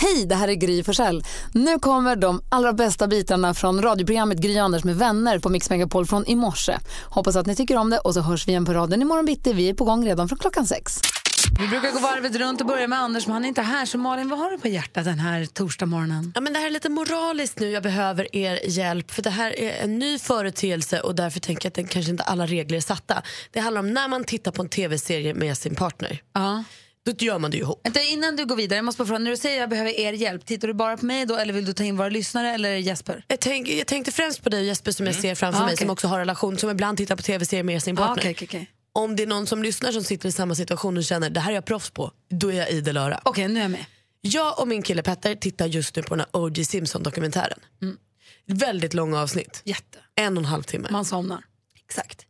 Hej, det här är Gry Forssell. Nu kommer de allra bästa bitarna från radioprogrammet Gry Anders med vänner på Mix Megapol från i morse. Hoppas att ni tycker om det och så hörs vi igen på raden imorgon bitti. Vi är på gång redan från klockan sex. Vi brukar gå varvet runt och börja med Anders, men han är inte här. Så Malin, vad har du på hjärtat den här torsdagsmorgonen? Ja, men det här är lite moraliskt nu. Jag behöver er hjälp. För Det här är en ny företeelse och därför tänker jag att den kanske inte alla regler är satta. Det handlar om när man tittar på en tv-serie med sin partner. Ja. Då gör man det ju ihop. Vänta, innan du går vidare, jag måste bara fråga, när du säger jag behöver er hjälp, tittar du bara på mig då eller vill du ta in våra lyssnare eller Jesper? Jag, tänk, jag tänkte främst på dig Jesper som jag ser framför Ah, mig okej. som också har relation, som ibland tittar på tv-serier med sin partner. Ah, Okej, okej, okej. Om det är någon som lyssnar som sitter i samma situation och känner det här är jag proffs på, då är jag idel öra. Okej, nu är jag med. Jag och min kille Petter tittar just nu på den här O.J. Simpson-dokumentären. Väldigt långa avsnitt, Mm. Jätte. en och en halv timme. Man somnar. Exakt.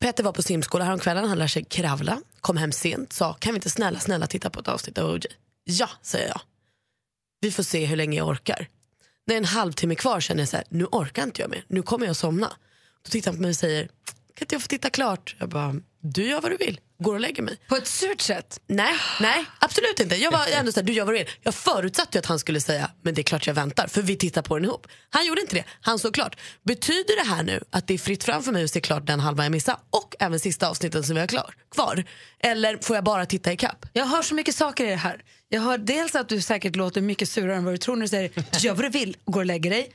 Petter var på simskola häromkvällen, han lär sig kravla, kom hem sent, sa kan vi inte snälla, snälla titta på ett avsnitt av OJ? Ja, säger jag. Vi får se hur länge jag orkar. När det är en halvtimme kvar känner jag så här, nu orkar inte jag mer, nu kommer jag somna. Då tittar han på mig och säger, kan inte jag få titta klart? Jag bara, du gör vad du vill, går och lägger mig. På ett surt sätt. Nej, nej, absolut inte. Jag var ändå så här, du gör vad du vill. Jag förutsatte ju att han skulle säga, men det är klart jag väntar, för vi tittar på den ihop. Han gjorde inte det, han såg klart. Betyder det här nu att det är fritt fram för mig att se klart den halva jag missade och även sista avsnitten som vi har klar, kvar? Eller får jag bara titta i kapp? Jag hör så mycket saker i det här. Jag hör dels att du säkert låter mycket surare än vad du tror när du säger gör vad du vill och går och lägger dig.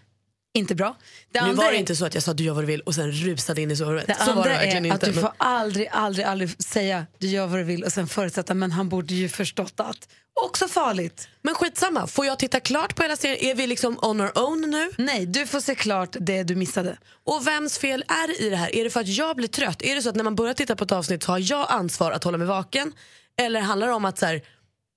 Inte bra. Det Nu andra var det är- inte så att jag sa du gör vad du vill och sen rusade in i sovrummet. det Så var andra det verkligen är att inte. du men- får aldrig, aldrig, aldrig säga du gör vad du vill och sen förutsätta men han borde ju förstått att. Också farligt. Men skitsamma, får jag titta klart på hela serien? Är vi liksom on our own nu? Nej, du får se klart det du missade. Och vems fel är det i det här? Är det för att jag blir trött? Är det så att när man börjar titta på ett avsnitt så har jag ansvar att hålla mig vaken? Eller handlar det om att så här,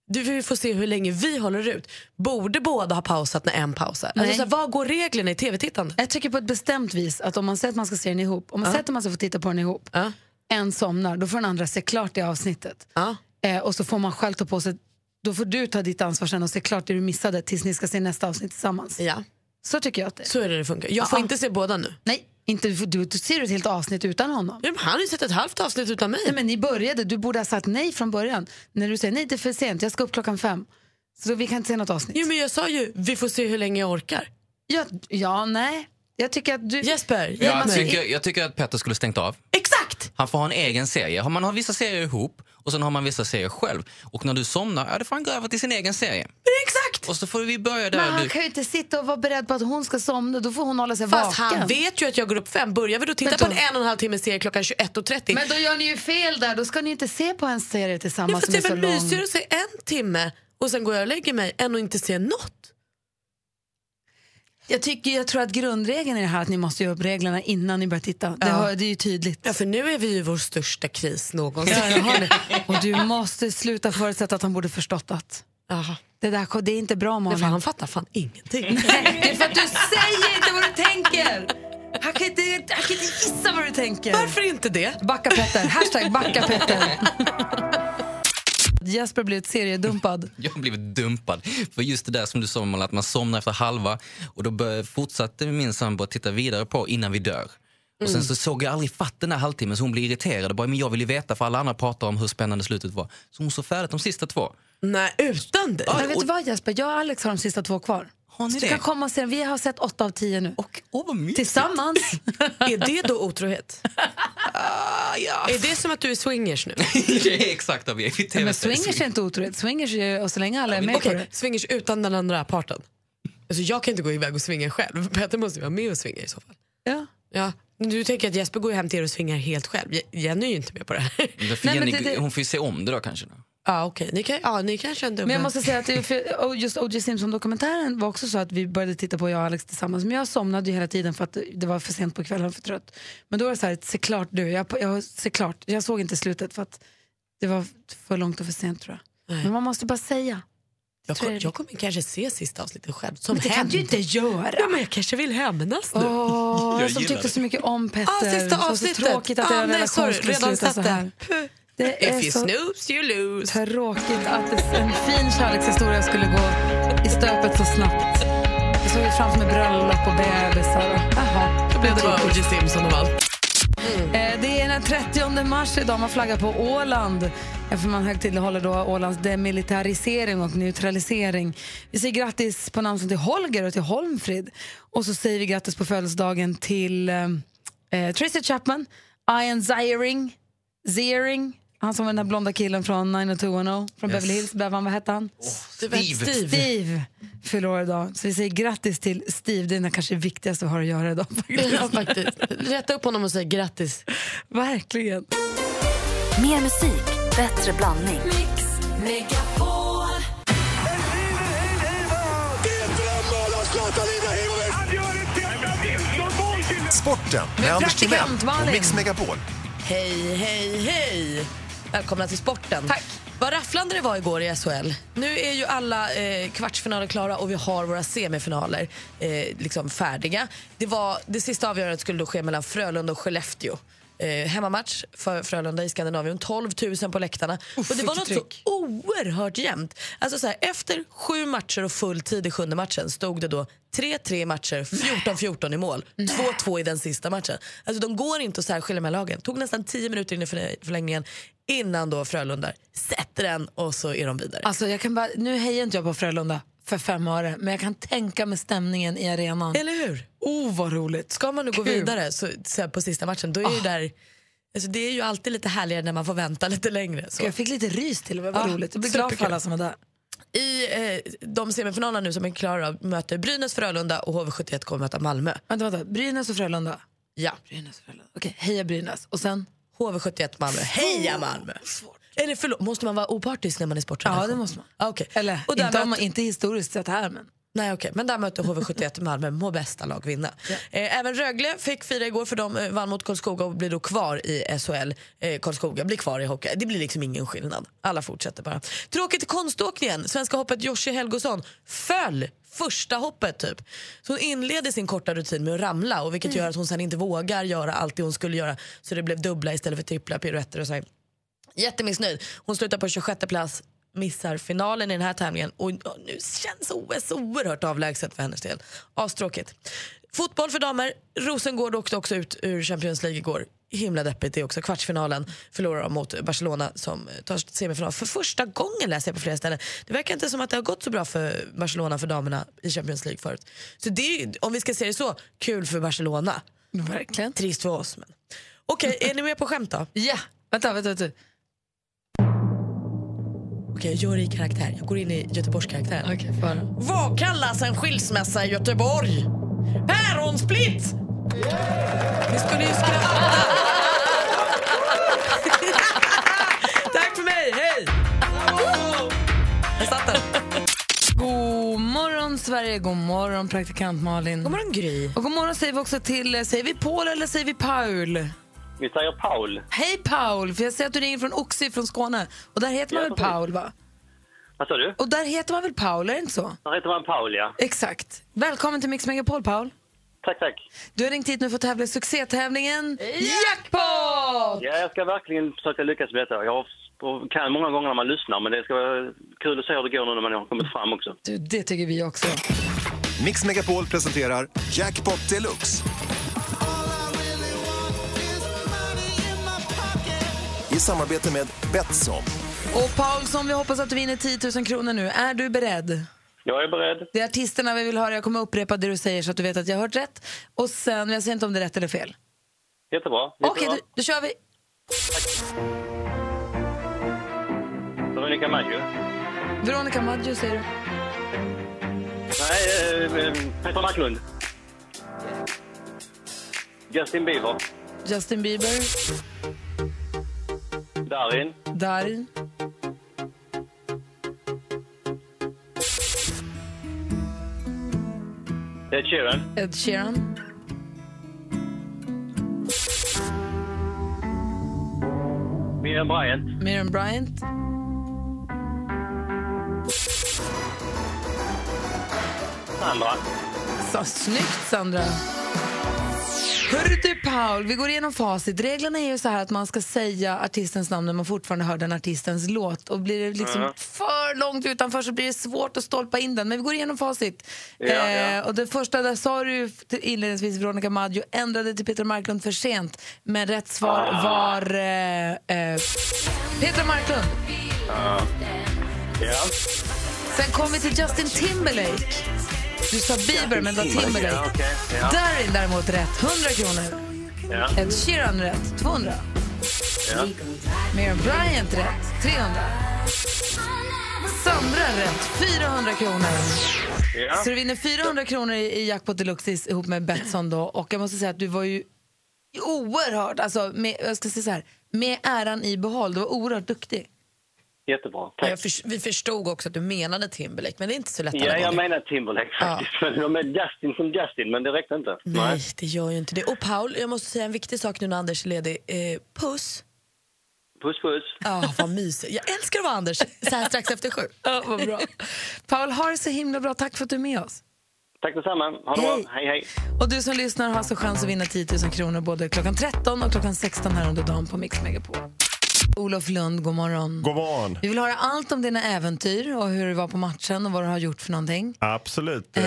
du, vi får se hur länge vi håller ut? Borde båda ha pausat när en pausar? Alltså, Nej. så här, vad går reglerna i tv-tittande? Jag tycker på ett bestämt vis att om man säger att man ska se den ihop, om man säger att man ska få titta på den ihop, Ja. en somnar, då får den andra se klart det avsnittet. Ja. Eh, och så får man själv ta på sig, då får du ta ditt ansvar sen och se klart det du missade tills ni ska se nästa avsnitt tillsammans. ja, Så tycker jag att det är. så är det det funkar. Jag får Ja. inte se båda nu. Nej, inte, du, du, du ser ett helt avsnitt utan honom. Ja, men Han har ju sett ett halvt avsnitt utan mig. Nej, men ni började, du borde ha sagt nej från början. När du säger nej, det är för sent, jag ska upp klockan fem. Så vi kan inte se något avsnitt. Jo, men jag sa ju, vi får se hur länge jag orkar. Ja, ja, nej. Jag tycker att du... Jesper, hjälp Jag mig. tycker, jag tycker att Petter skulle stängt av. Exakt! Han får ha en egen serie. Har Man har vissa serier ihop och sen har man vissa serier själv. Och när du somnar, ja, då får han gå över till sin egen serie. Exakt! Och så får vi börja Men där. han Du, kan ju inte sitta och vara beredd på att hon ska somna. Då får hon hålla sig Fast vaken. han vet ju att jag går upp fem. Börjar vi då titta Men på då- en en och en halv timme serie klockan 21.30 Men då gör ni ju fel där. Då ska ni inte se på en serie Ja, tillsammans fast som det är är så väl lång. mysigare att se en timme och sen går jag och lägger mig än att inte se något. Jag, tycker, jag tror att grundregeln är det här att ni måste göra upp reglerna innan ni börjar titta. Det, Ja. hör, det är ju tydligt. Ja, för nu är vi ju i vår största kris någonsin. Ja, jag hör det. Och du måste sluta förutsätta att han borde förstått att Jaha. det där det är inte bra Men Malin. fan, han fattar fan ingenting. Det är för att du säger inte vad du tänker. Han kan inte, han kan inte gissa vad du tänker. Varför inte det? Backa Petter. Hashtag backa Petter. Jesper har blivit seriedumpad. jag har blivit dumpad för just det där som du sa, Malin, att man somnar efter halva. Och då bör- fortsatte min sambo att titta vidare på innan vi dör. Och Mm. sen så såg jag aldrig fatt den här halvtimmen så hon blev irriterad. Och bara, men jag vill ju veta för alla andra pratar om hur spännande slutet var. Så hon såg färdigt de sista två. Nej, utan dig. Ja, Men vet du och- vad Jesper, jag och Alex har de sista två kvar. Har ni Så du det? kan komma och se den. Vi har sett åtta av tio nu. Och, åh, vad mysigt. Tillsammans. Är det då otrohet? Ah, ja. Är det som att du är swingers nu? det är exakt vad vi är. Vi Men TV-serie. swingers är inte otroligt. Swingers är ju, och så länge alla är med på Okej, det. swingers utan den andra parten. Alltså, jag kan inte gå iväg och svinga själv. Peter måste ju vara med och svinga i så fall. Ja. Ja, du tänker att Jesper går ju hem till er och svingar helt själv. Je- Jenny är ju inte med på det här. Då får Nej, men Jenny, det- det- Hon får ju se om det då kanske. Då. Ja, okej. Ni, kan, ja, ni kanske ändå... Men jag måste säga att det är för, och just O.J. Simpson-dokumentären var också så att vi började titta på jag och Alex tillsammans. Men jag somnade ju hela tiden för att det var för sent på kvällen och för trött. Men då var det så här, se klart du. Jag, jag, se klart. jag såg inte slutet för att det var för långt och för sent tror jag. Nej. Men man måste bara säga. Jag, Tror kom, jag det. jag kommer kanske se sista avsnittet själv. Som Men det kan hämnd. du ju inte göra. Ja, men jag kanske vill hämnas nu. Åh, jag som gillar tyckte det. så mycket om Petter. ah, Det sista var avsnittet. Så tråkigt att ah, ah, er nej, relation sorry, skulle redan sluta så satt här. där. Det If är you så snooze you lose. tråkigt att det- en fin kärlekshistoria skulle gå i stöpet så snabbt. Jag såg ju framför mig bröllop och bebisar. och- Jaha, Då blev det bara O.J. Simpson och allt. Eh, Det är den 30 mars idag. Man flaggar på Åland. Eftersom man högtidlighåller då Ålands demilitarisering och neutralisering. Vi säger grattis på namnsdagen till Holger och till Holmfrid. Och så säger vi grattis på födelsedagen till eh, eh, Tracy Chapman, Ian Ziering, Ziering, han som var den där blonda killen från 90210 från Yes. Beverly Hills. Bevan, vad hette han? Steve. Steve fyller år idag. Så vi säger grattis till Steve. Det är den kanske viktigaste vi har att göra idag. Ja, faktiskt. Rätta upp honom och säg grattis. Verkligen. Mer musik, bättre blandning. Sporten med Anders Timell praktikant och Malin. Mix Megapol. Hej, hej, hej! Välkomna till sporten. Tack. Vad rafflande det var igår i SHL. Nu är ju alla eh, kvartsfinaler klara och vi har våra semifinaler eh, liksom färdiga. Det, var, det sista avgörandet skulle då ske mellan Frölunda och Skellefteå. Eh, hemmamatch för Frölunda i Skandinavien. 12 000 på läktarna. och det var något vilket så oerhört jämnt. Alltså så här, efter sju matcher och full tid i sjunde matchen stod det då 3-3 matcher, 14-14 i mål, 2-2 i den sista matchen. Alltså de går inte att särskilja med lagen. tog nästan 10 minuter in i förlä- förlängningen innan då Frölunda sätter den och så är de vidare. Alltså jag kan bara, nu hejar inte jag på Frölunda för fem öre, men jag kan tänka mig stämningen i arenan. Eller hur? Alltså. Oh, vad roligt! Ska man nu gå Kul. Ah. vidare så, så här på sista matchen, då är ju där... Alltså det är ju alltid lite härligare när man får vänta lite längre. Så. Jag fick lite rys till och med, vad Ja, roligt. Jag blir glad för superkul. alla som var där. I eh, de semifinalerna nu som är klara möter Brynäs, Frölunda och HV71 kommer möta Malmö. Vänta, vänta. Brynäs och Frölunda. Ja. Brynäs och Frölunda. Okej, heja Brynäs. Och sen? HV71 Malmö. Heja Malmö! Eller förlåt, måste man vara opartisk när man är sportredaktion? Ja, det måste man. Ah, okej. Eller, och där inte, om, möter- inte historiskt sett här, men... Nej, okej. Men där möter HV71 Malmö, må bästa lag vinna. Eh, även Rögle fick fira igår för de eh, vann mot Karlskoga och blir då kvar i SHL. Eh, Karlskoga blir kvar i hockey. Det blir liksom ingen skillnad. Alla fortsätter bara. Tråkigt i konståkningen. Svenska hoppet Joshi Helgosson föll första hoppet typ. Så hon inleder sin korta rutin med att ramla och vilket gör att hon sen inte vågar göra allt det hon skulle göra. Så det blev dubbla istället för trippla piruetter och så här. Jättemissnöjd. Hon slutar på 26 plats, missar finalen i den här tävlingen och ja, nu känns OS oerhört avlägset för hennes del. Astråkigt. Fotboll för damer. Rosengård åkte också ut ur Champions League igår. Himla deppigt det är också. Kvartsfinalen förlorar de mot Barcelona som tar sig till semifinal. För första gången läser jag på flera ställen. Det verkar inte som att det har gått så bra för Barcelona för damerna i Champions League förut. Så det är, ju- om vi ska se det så, kul för Barcelona. Verkligen. Trist för oss. Men. Okej, är ni med på skämt då? Ja! Vänta, vänta, vänta. Okej, jag gör det i karaktär. Jag går in i Göteborgskaraktären. Okej, okay, bara. Vad kallas en skilsmässa i Göteborg? Päronsplitt! Ni skulle ju skratta. Tack för mig, hej! Där satt den. God morgon, Sverige. God morgon, praktikant Malin. God morgon, Gry. Och god morgon säger vi också till... eh, Säger vi Paul eller säger vi Paul? Vi säger Paul. Hej Paul! För jag ser att du ringer från Oxie från Skåne. Och där heter man Ja, väl precis. Paul, va? Vad sa du? Och där heter man väl Paul, är det inte så? Han heter man Paul, ja. Exakt. Välkommen till Mix Megapol, Paul. Tack, tack. Du har ringt hit nu för att tävla i succétävlingen Jackpot! Ja, jag ska verkligen försöka lyckas med detta. Jag kan många gånger när man lyssnar, men det ska vara kul att se hur det går nu när man har kommit fram också. Du, det tycker vi också. Mix Megapol presenterar Jackpot Deluxe. I samarbete med Betsson. Och Paul, som vi hoppas att du vinner 10 000 kronor nu. Är du beredd? Jag är beredd. Det är artisterna vi vill höra. Jag kommer upprepa det du säger så att du vet att jag har hört rätt. Och sen, jag säger inte om det är rätt eller fel. Jättebra. Okej, Jättebra. då, då kör vi. Veronica Maggio. Veronica Maggio säger du. Nej, eh, eh, Peter Marklund. Justin Bieber. Justin Bieber, Darin. Darin. Ed Sheeran. Ed Sheeran. Miriam Bryant. Miriam Bryant. Sandra. Så, snyggt, Sandra! Hörru du, Paul, vi går igenom facit. Reglerna är ju så här att man ska säga artistens namn när man fortfarande hör den artistens låt. Och blir det liksom Mm. för för långt utanför så blir det svårt att stolpa in den. Men vi går igenom facit. Ja, ja. Eh, och det första där sa du ju till- inledningsvis Veronica Maggio ändrade till Petra Marklund för sent. Men rätt svar var eh, eh, Petra Marklund. Ja. Sen kom vi till Justin Timberlake. Du sa Bieber men det var Ja, Timberlake. okej. Ja, Darin däremot rätt, 100 kronor. ja, Ed Sheeran rätt, 200. ja. Miriam Bryant rätt, 300. Sandra rätt, 400 kronor. ja. Så du vinner 400 kronor i i Jackpot Deluxe is- ihop med Betsson då. Och jag måste säga att du var ju oerhört, alltså med, jag ska säga så här, med äran i behåll. Du var oerhört duktig. Jättebra. Jag Tack. förs- vi förstod också att du menade Timberlake, men det är inte så lätt alla Ja, jag gånger. menar Timberlake faktiskt. Men de är Justin som Justin, men det räckte inte. Nej, det gör ju inte det. Och Paul, jag måste säga en viktig sak nu när Anders är ledig. Eh, puss. Puss, puss. Ja, vad mysigt. Jag älskar att vara Anders så här strax efter sju. Ja, vad bra. Paul, har det så himla bra. Tack för att du är med oss. Tack detsamma. Ha det bra. Hej. Hej, hej. Och du som lyssnar har alltså chans att vinna 10 000 kronor både klockan 13 och klockan 16 här under dagen på Mix Megapol. Olof Lund, god morgon. God morgon. Vi vill höra allt om dina äventyr och hur det var på matchen och vad du har gjort för någonting. Absolut. Eh,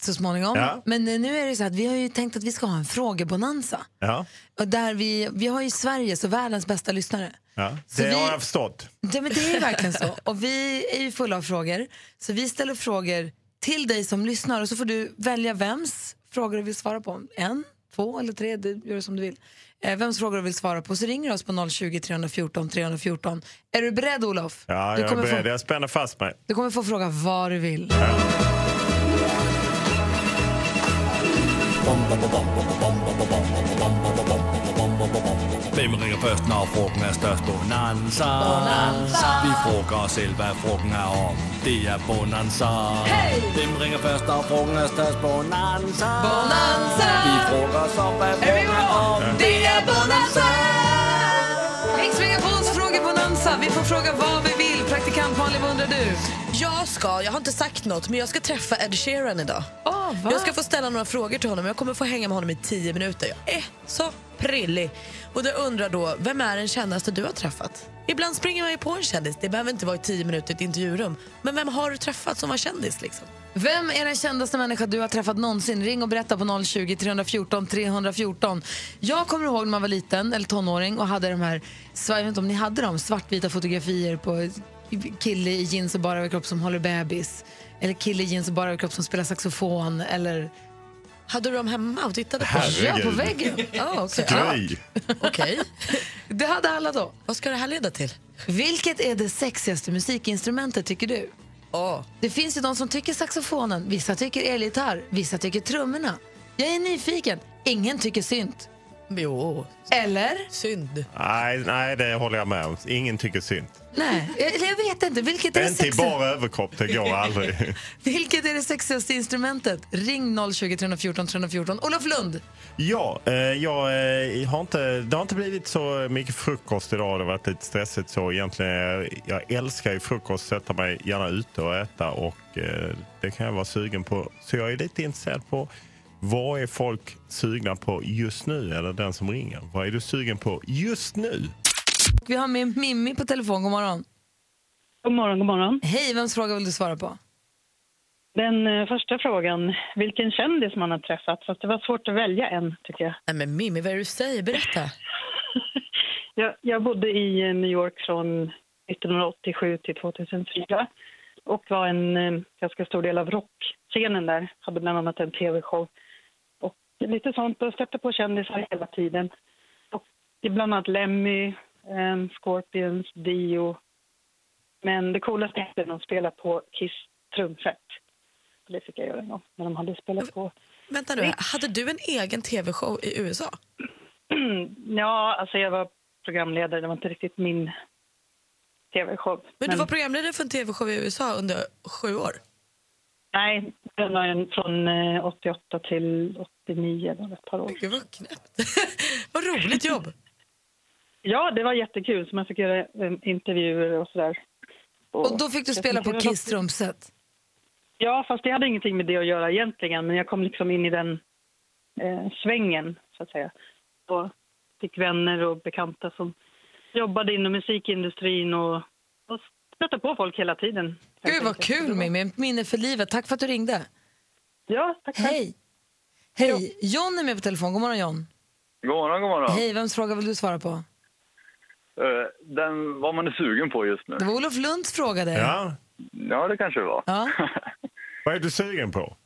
så småningom. ja. Men eh, nu är det så att vi har ju tänkt att vi ska ha en frågebonanza. Ja, Och där vi, vi har ju Sveriges och världens bästa lyssnare. ja. Så Det vi- har jag förstått. Ja, men det är ju verkligen så. Och vi är ju fulla av frågor. Så vi ställer frågor till dig som lyssnar och så får du välja vems frågor du vill svara på. En, två eller tre, det gör du som du vill. Eh, vems frågor du vill svara på. Så ringer du oss på 020 314 314. Är du beredd Olof? Ja, jag du, är kommer beredd. få, Jag spänner fast mig. du kommer få fråga vad du vill. Hvem ringer først, når frugten er størst? Bonanza. Vi frugger os selv, hvad frugten er om. Det er Bonanza. Hey! Hvem ringer først, når frugten er størst? Bonanza. Bonanza! Vi frugger os op, hvad frugten er om. Det är bonanza! Mix Megapols frågebonanza. Vi får fråga vad vi vill. Praktikant Malin, vad undrar du? Jag ska, jag har inte sagt något, men jag ska träffa Ed Sheeran idag. Oh, Jag ska få ställa några frågor till honom. Jag kommer få hänga med honom i tio minuter. Jag är så prillig. Och det undrar då, vem är den kändaste du har träffat? Ibland springer man ju på en kändis. Det behöver inte vara i tio minuter i ett intervjurum. Men vem har du träffat som var kändis liksom? Vem är den kändaste människa du har träffat någonsin? Ring och berätta på 020 314 314. Jag kommer ihåg när man var liten, eller tonåring, och hade de här, jag vet inte om ni hade dem, svartvita fotografier på kille i jeans och bara överkropp som håller bebis. Eller kille i jeans och bara överkropp som spelar saxofon. Eller Hade du dem hemma och tittade på? Herregud. ja, på väggen. Ah, Ja, okej. Gry. Ja, okej. Det hade alla då. Vad ska det här leda till? Vilket är det sexigaste musikinstrumentet tycker du? Åh, Det finns ju de som tycker saxofonen, vissa tycker elgitarr, vissa tycker trummorna. Jag är nyfiken, ingen tycker synt. jo, Eller? synd. Nej, nej, det håller jag med om. Ingen tycker synd. Nej, eller jag vet inte. Vilket är, det Inte i sexigaste, bara överkropp, det går aldrig. vilket är det sexigaste instrumentet? Ring 020 314 314. Olof Lund! Ja, eh, jag eh, har inte, det har inte blivit så mycket frukost idag. Det har varit lite stressigt så egentligen. Jag, jag älskar ju frukost, sätta mig gärna ute och äta och eh, det kan jag vara sugen på. Så jag är lite intresserad på vad är folk sugna på just nu? Eller den som ringer. Vad är du sugen på just nu? Vi har med Mimmi på telefon. God morgon. God morgon, god morgon. Hej, vems fråga vill du svara på? Den eh, första frågan, vilken kändis man har träffat. Fast det var svårt att välja en, tycker jag. Nej men Mimmi, vad är det du säger? Berätta. jag. Jag bodde i eh, New York från 1987 till 2004 och var en eh, ganska stor del av rockscenen där. Hade bland annat en tv-show och lite sånt och stötte på kändisar hela tiden. Och det är bland annat Lemmy, eh, Scorpions, Dio. Men det coolaste är att de spelade på Kiss trumset. Och Det fick jag göra en gång när de hade spelat på Vänta nu, hade du en egen tv-show i USA? Ja, alltså jag var programledare. Det var inte riktigt min tv-show. Men du var programledare för en tv-show i USA under sju år? Nej, den var en från eh, 88 till 89. Det var ett par år. Gud vad knäppt. vad roligt jobb. Ja, det var jättekul. Så man fick göra eh, intervjuer och sådär. Och då fick du spela på Kiss trumset. Ja, fast det hade ingenting med det att göra egentligen. Men jag kom liksom in i den eh, svängen, så att säga. Och fick vänner och bekanta som jobbade inom musikindustrin och, och stöter på folk hela tiden. Gud vad kul Mimmi, Ett minne för livet. Tack för att du ringde. Ja, tack. Hej. Hej, John är med på telefon. God morgon John. God morgon, god morgon. Hej, vems fråga vill du svara på? Eh, Den, vad man är sugen på just nu. Det var Olof Lunds fråga det. Ja, det kanske det var. Ja. Vad är du sugen på?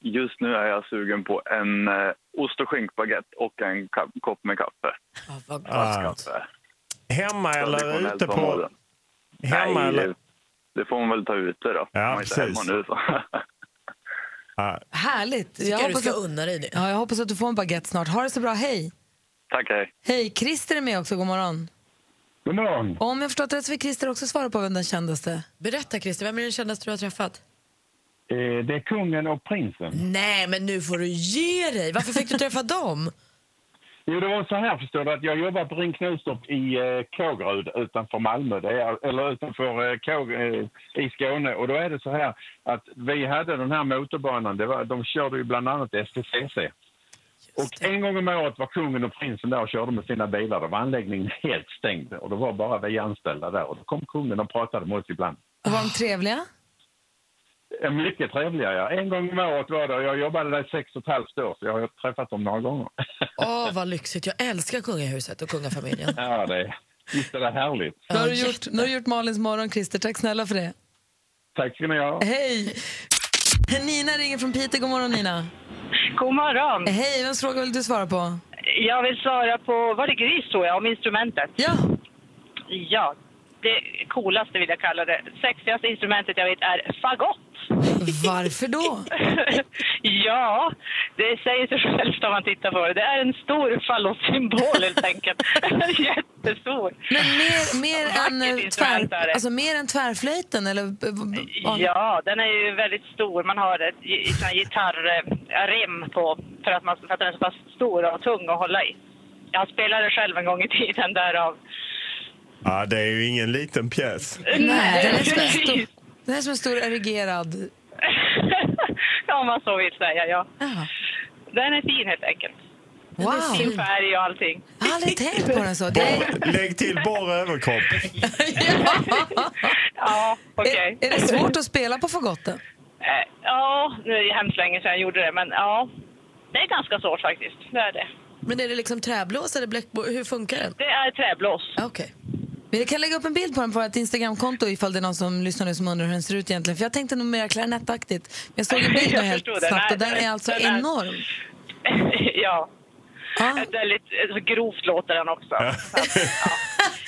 Just nu är jag sugen på en eh, ost och skinkbaguette och en ka- kopp med kaffe. Fast Ah. kaffe. Hemma eller Traditionellt ute som på... orden. Hemma Nej, eller... det, det får man väl ta ute då. Ja, man är inte precis. Ah, hemma nu så. Härligt. Tycker jag du ska att- unna dig det. Ja, jag hoppas att du får en baguette snart. Ha det så bra, hej. Tack, hej. Hej, Christer är med också. God morgon. God morgon. Om jag förstått rätt så vill Christer också svara på vem den kändaste. Berätta Christer, vem är den kändaste du har träffat? Eh, det är kungen och prinsen. Nej, men nu får du ge dig. Varför fick du träffa dem? Jo, det var så här förstår du att jag jobbar på Ring Knutstorp i eh, Kågerud utanför Malmö, det är, eller utanför eh, Kåg, eh, i Skåne. Och då är det så här att vi hade den här motorbanan, det var, de körde ju bland annat STCC. Och en gång om året var kungen och prinsen där och körde med sina bilar. Då var anläggningen helt stängd och det var bara vi anställda där. Och då kom kungen och pratade med oss ibland. Och var de trevliga? Eh, Mycket trevliga, ja. En gång om året var det. och Jag jobbade där i sex och ett halvt år, så jag har träffat dem några gånger. Åh, vad lyxigt. Jag älskar kungahuset och kungafamiljen. Ja, det är, visst är det härligt. Nu har, du gjort, nu har du gjort Malins morgon, Christer. Tack snälla för det. Tack ska ni ha. Hej! Nina ringer från Piteå. God morgon, Nina. God morgon. Hej, vems fråga vill du svara på? Jag vill svara på, var det gris tror jag, om instrumentet? Ja. Ja, det coolaste vill jag kalla det. Sexigaste instrumentet jag vet är fagott. Varför då? ja, det säger sig självt om man tittar på det. Det är en stor fallossymbol helt enkelt. Jättestor. Men mer, mer, än, eh, instrument är tvär, det. alltså, mer än tvärflöjten? Eller, b- b- vanlig- Ja, den är ju väldigt stor. Man har ett gi- sån här gitarrrem på för att, man, för att den är så pass stor och tung att hålla i. Jag spelade själv en gång i tiden därav. Ja, ah, det är ju ingen liten pjäs. Nej, den är som en precis. stor, den är som en stor erigerad... Om man så vill säga, ja. Den är fin helt enkelt. Wow. Fin färg och allting. Jag har aldrig tänkt på den så. Det är, Bara, lägg till bara överkropp. Ja, okej. är det svårt att spela på fagotten? Eh, Ja, nu är det hemskt länge sedan jag gjorde det, men ja. Det är ganska svårt faktiskt. Det är det. Men är det liksom träblås eller bläckblås? Hur funkar den? Det är träblås. Okej. Vi kan lägga upp en bild på den på vårt Instagramkonto ifall det är någon som lyssnar nu som undrar hur den ser ut egentligen. För jag tänkte nog mer klarinettaktigt. Men jag såg en bild nu Jag helt förstod det. snabbt och Nej, den är alltså den är- enorm. ja. Ett väldigt eh, grovt låter den också. Så, att, ja.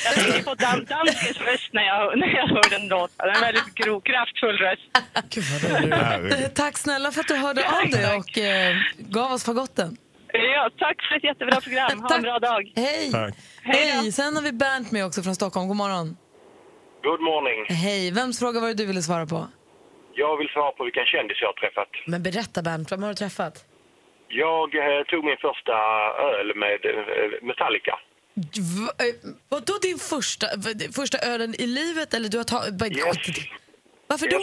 Jag tänkte på Dan Danskes röst när jag, när jag hörde den låta. Den är en väldigt grov, kraftfull röst. Tack snälla för att du hörde av dig och eh, gav oss fagotten. Ja, tack för ett jättebra program. Ha en bra dag. Hej! Hej! Sen har vi Bernt med också från Stockholm. God morgon. Good morning. Hej! Vems fråga var det du ville svara på? Jag vill svara på vilken kändis jag har träffat. Men berätta Bernt, vem har du träffat? Jag eh, tog min första öl med eh, Metallica. eh, Vadå din första, v- första ölen i livet? Eller du har tagit... Yes. Varför då?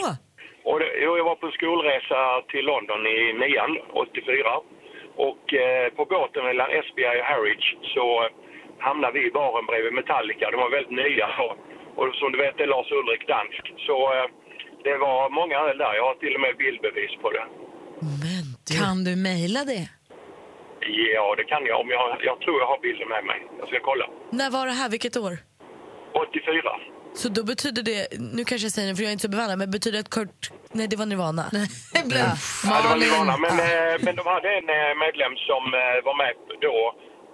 Och det, jo, jag var på en skolresa till London i nian, 84. Och eh, på båten mellan Esbjerg och Harwich så eh, hamnade vi i baren bredvid Metallica. De var väldigt nya då. Och som du vet är Lars Ulrik dansk. Så eh, det var många öl där. Jag har till och med bildbevis på det. Kan du mejla det? Ja, det kan jag. Om jag, jag tror jag har bilden med mig. Jag ska kolla. När var det här? Vilket år? 84. Så då betyder det, nu kanske jag säger det för jag är inte så bevandrad, men betyder det att Kurt... Nej, det var Nirvana. Ja. Ja, det var Nirvana. Men, eh, men de hade en eh, medlem som eh, var med då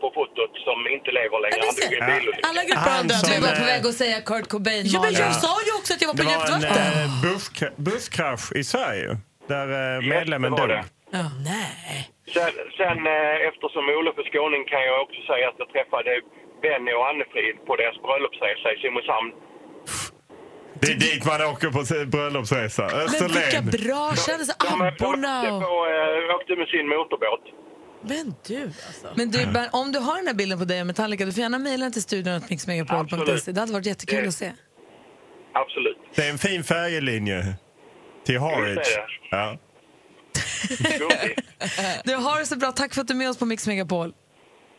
på fotot som inte lever längre. Han dog i en bilolycka. Alla grupper har dött. Du var på väg att säga Kurt Cobain, Ja, men jag Ja. sa ju också att jag var på Det var en djupt vatten. eh, busskra- busskrasch i Sverige där eh, medlemmen det var dog. det. Sen, sen eh, eftersom Olof är skåning kan jag också säga att jag träffade Benny och Annefrid på deras bröllopsresa i Simrishamn. Det är dit man åker på sin bröllopsresa. Men vilka Österlen. bra kändisar! De Abborna och... åkte, på, eh, åkte med sin motorbåt. Men du alltså. Men du, Bernt, om du har den här bilden på dig och Metallica, du får gärna mejla den till studion att mixmegapol.se. Absolut. Det hade varit jättekul att se. Absolut. Det är en fin färjelinje till Visst Harwich. är det. Ja. Eh. Du har det så bra. Tack för att du är med oss på Mix Megapol.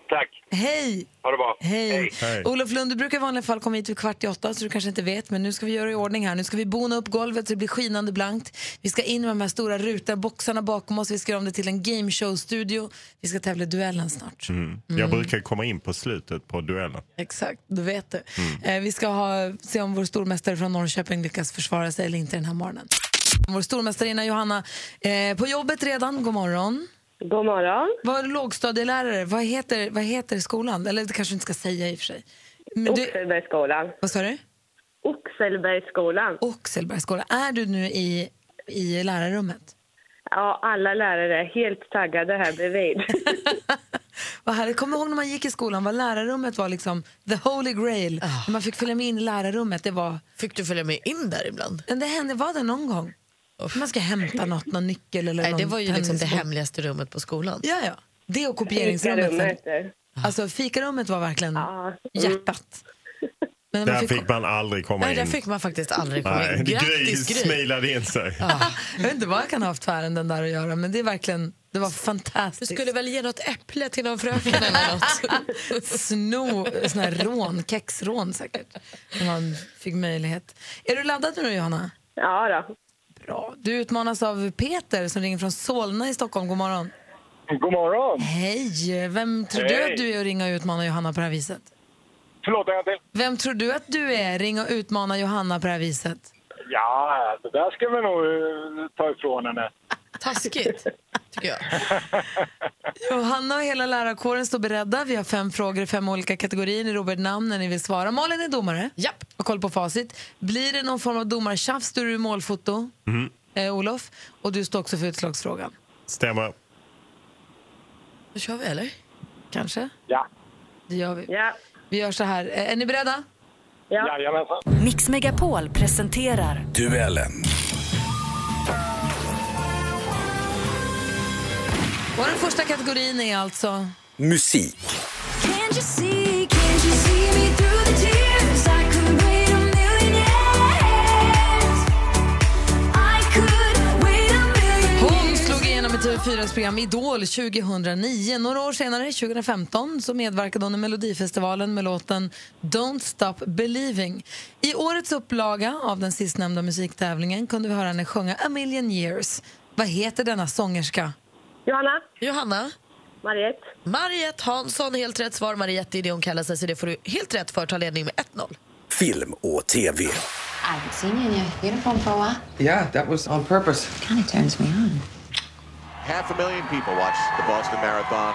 Tack. Hej! Ha det bra. Hej. Hej. Olof Lund, du brukar i vanliga fall komma hit vid kvart i åtta så du kanske inte vet, men nu ska vi göra i ordning här. Nu ska vi bona upp golvet så det blir skinande blankt. Vi ska in med de här stora rutor, boxarna bakom oss. Vi ska göra om det till en gameshow-studio. Vi ska tävla i duellen snart. Mm. Mm. Jag brukar komma in på slutet på duellen. Exakt, du vet du. Eh, vi ska ha, se om vår stormästare från Norrköping lyckas försvara sig eller inte den här morgonen. Vår stormästarinna Johanna, eh, på jobbet redan. God morgon. God morgon. Var lågstadielärare. Vad heter, vad heter skolan? Eller det kanske du inte ska säga i och för sig. Oxelbergsskolan. Vad sa du? Oxelbergsskolan. Oxelbergsskolan. Är du nu i, i lärarrummet? Ja, alla lärare är helt taggade här bredvid. Vad härligt. Kommer du ihåg när man gick i skolan? Vad lärarrummet var liksom the holy grail. När man fick följa med in i lärarrummet. Det var... Ah. Fick du följa med in där ibland? Det hände, var det någon gång. Man ska hämta något, någon nyckel eller Nej, någon det var ju liksom det tennisboll. hemligaste rummet på skolan. Ja, ja. Det och kopieringsrummet. sen. Fikarummet. Alltså fikarummet var verkligen hjärtat. Men Där fick man aldrig komma Nej, in. där fick man faktiskt aldrig komma Nej, in. Grattis, Gry Gry. smilade in sig. Jag vet inte vad jag kan ha haft för ärenden där att göra, men det är verkligen, det var Du fantastiskt. skulle väl ge något äpple till någon fröken eller något? Sno, sån här rån, kexrån säkert, när man fick möjlighet. Är du laddad nu då, Johanna? Ja då. Bra. Du utmanas av Peter som ringer från Solna i Stockholm. God morgon. God morgon. Hej! Vem tror du Hej. att du är att ringa och utmana Johanna på det här viset? Förlåt, en gång till. Vem tror du att du är, ringa och utmana Johanna på det här viset? Ja, det där ska vi nog eh, ta ifrån henne. Taskigt. Johanna och hela lärarkåren står beredda. Vi har fem frågor i fem olika kategorier. Ni ropar ett namn när ni vill svara. Malin är domare. Japp. Och koll på facit. Blir det någon form av domartjafs, då är du målfoto, Mm. eh, Olof. Och du står också för utslagsfrågan. Stämmer. Då kör vi, eller? Kanske. Ja. Det gör vi. Vi gör så här. Eh, Är ni beredda? Ja. Jajamensan. Mix Megapol presenterar Duellen. Och den första kategorin är alltså... Musik. Can't you see, can't you see me through the tears? I could wait a million years. I could wait a million Hon slog igenom i TV4s program Idol 2009. Några år senare, 2015, så medverkade hon i Melodifestivalen med låten Don't Stop Believing. I årets upplaga av den sistnämnda musiktävlingen kunde vi höra henne sjunga A Million Years. Vad heter denna sångerska? Johanna. Johanna. Mariette. Mariette Hansson, helt rätt svar. Mariette är det hon kallar sig, så det får du helt rätt för. Ta ledning med 1-0. Film och TV. I haven't seen you in your uniform for a while. Yeah, that was on purpose. Kind of turns me on. Half a million people watched the Boston Marathon.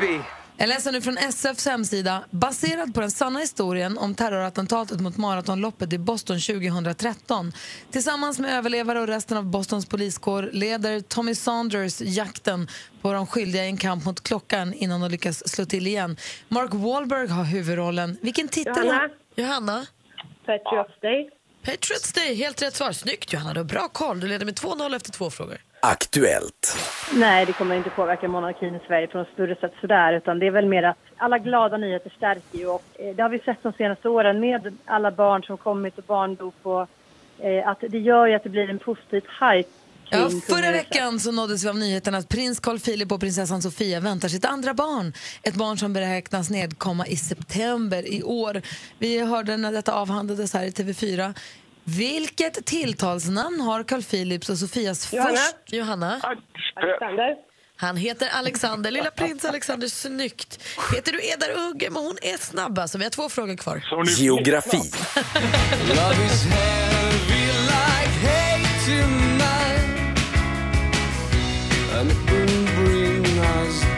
baby. Jag läser nu från SFs hemsida. Baserad på den sanna historien om terrorattentatet mot maratonloppet i Boston 2013. Tillsammans med överlevare och resten av Bostons poliskår leder Tommy Saunders jakten på de skyldiga i en kamp mot klockan innan de lyckas slå till igen. Mark Wahlberg har huvudrollen. Vilken titel? Johanna. Johanna. Patriots Day. Patriots Day, helt rätt svar. Snyggt Johanna, du har bra koll. Du leder med 2-0 efter två frågor. Aktuellt. Nej, det kommer inte påverka monarkin i Sverige på något större sätt sådär, utan det är väl mer att alla glada nyheter stärker ju och eh, det har vi sett de senaste åren med alla barn som kommit och barndop och eh, att det gör ju att det blir en positiv hype Ja, kring förra kungahuset. veckan så nåddes vi av nyheten att prins Carl Philip och prinsessan Sofia väntar sitt andra barn. Ett barn som beräknas nedkomma i september i år. Vi hörde när detta avhandlades här i TV4. Vilket tilltalsnamn har Carl Philips och Sofias Johanna. först... Johanna. Alexander. Han heter Alexander, lilla prins Alexander. Snyggt. Heter du Edar Ugge, men hon är snabb alltså. Vi har två frågor kvar. Geografi. Love is heavy like hate tonight And it will bring us down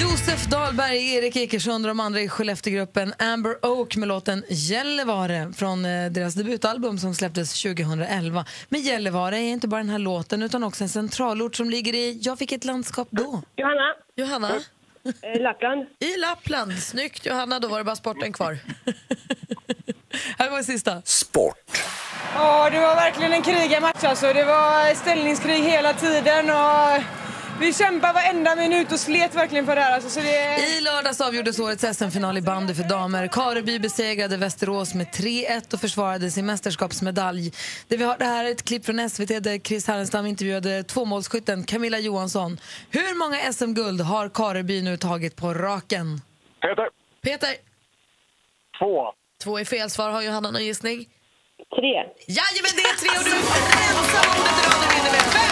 Josef Dahlberg, Erik Ekersund och de andra i Skellefteågruppen Amber Oak med låten Gällivare från eh, deras debutalbum som släpptes 2011. Men Gällivare är inte bara den här låten utan också en centralort som ligger i, ja vilket landskap då? Johanna. Johanna. Eh, Lappland. I Lappland. Snyggt Johanna, då var det bara sporten kvar. här kommer sista. Sport. Ja, det var verkligen en krigarmatch alltså. Det var ställningskrig hela tiden och vi kämpade varenda minut och slet verkligen för det här. Alltså, så det... I lördags avgjordes årets SM-final i bandy för damer. Kareby besegrade Västerås med 3-1 och försvarade sin mästerskapsmedalj. Det vi har det här är ett klipp från SVT där Chris Härenstam intervjuade tvåmålsskytten Camilla Johansson. Hur många SM-guld har Kareby nu tagit på raken? Eh, Peter. Peter. Två. Två är fel svar. Har Johanna någon gissning? Tre. Jajamän, det är tre och du är ensam om veteranen vinner med 15!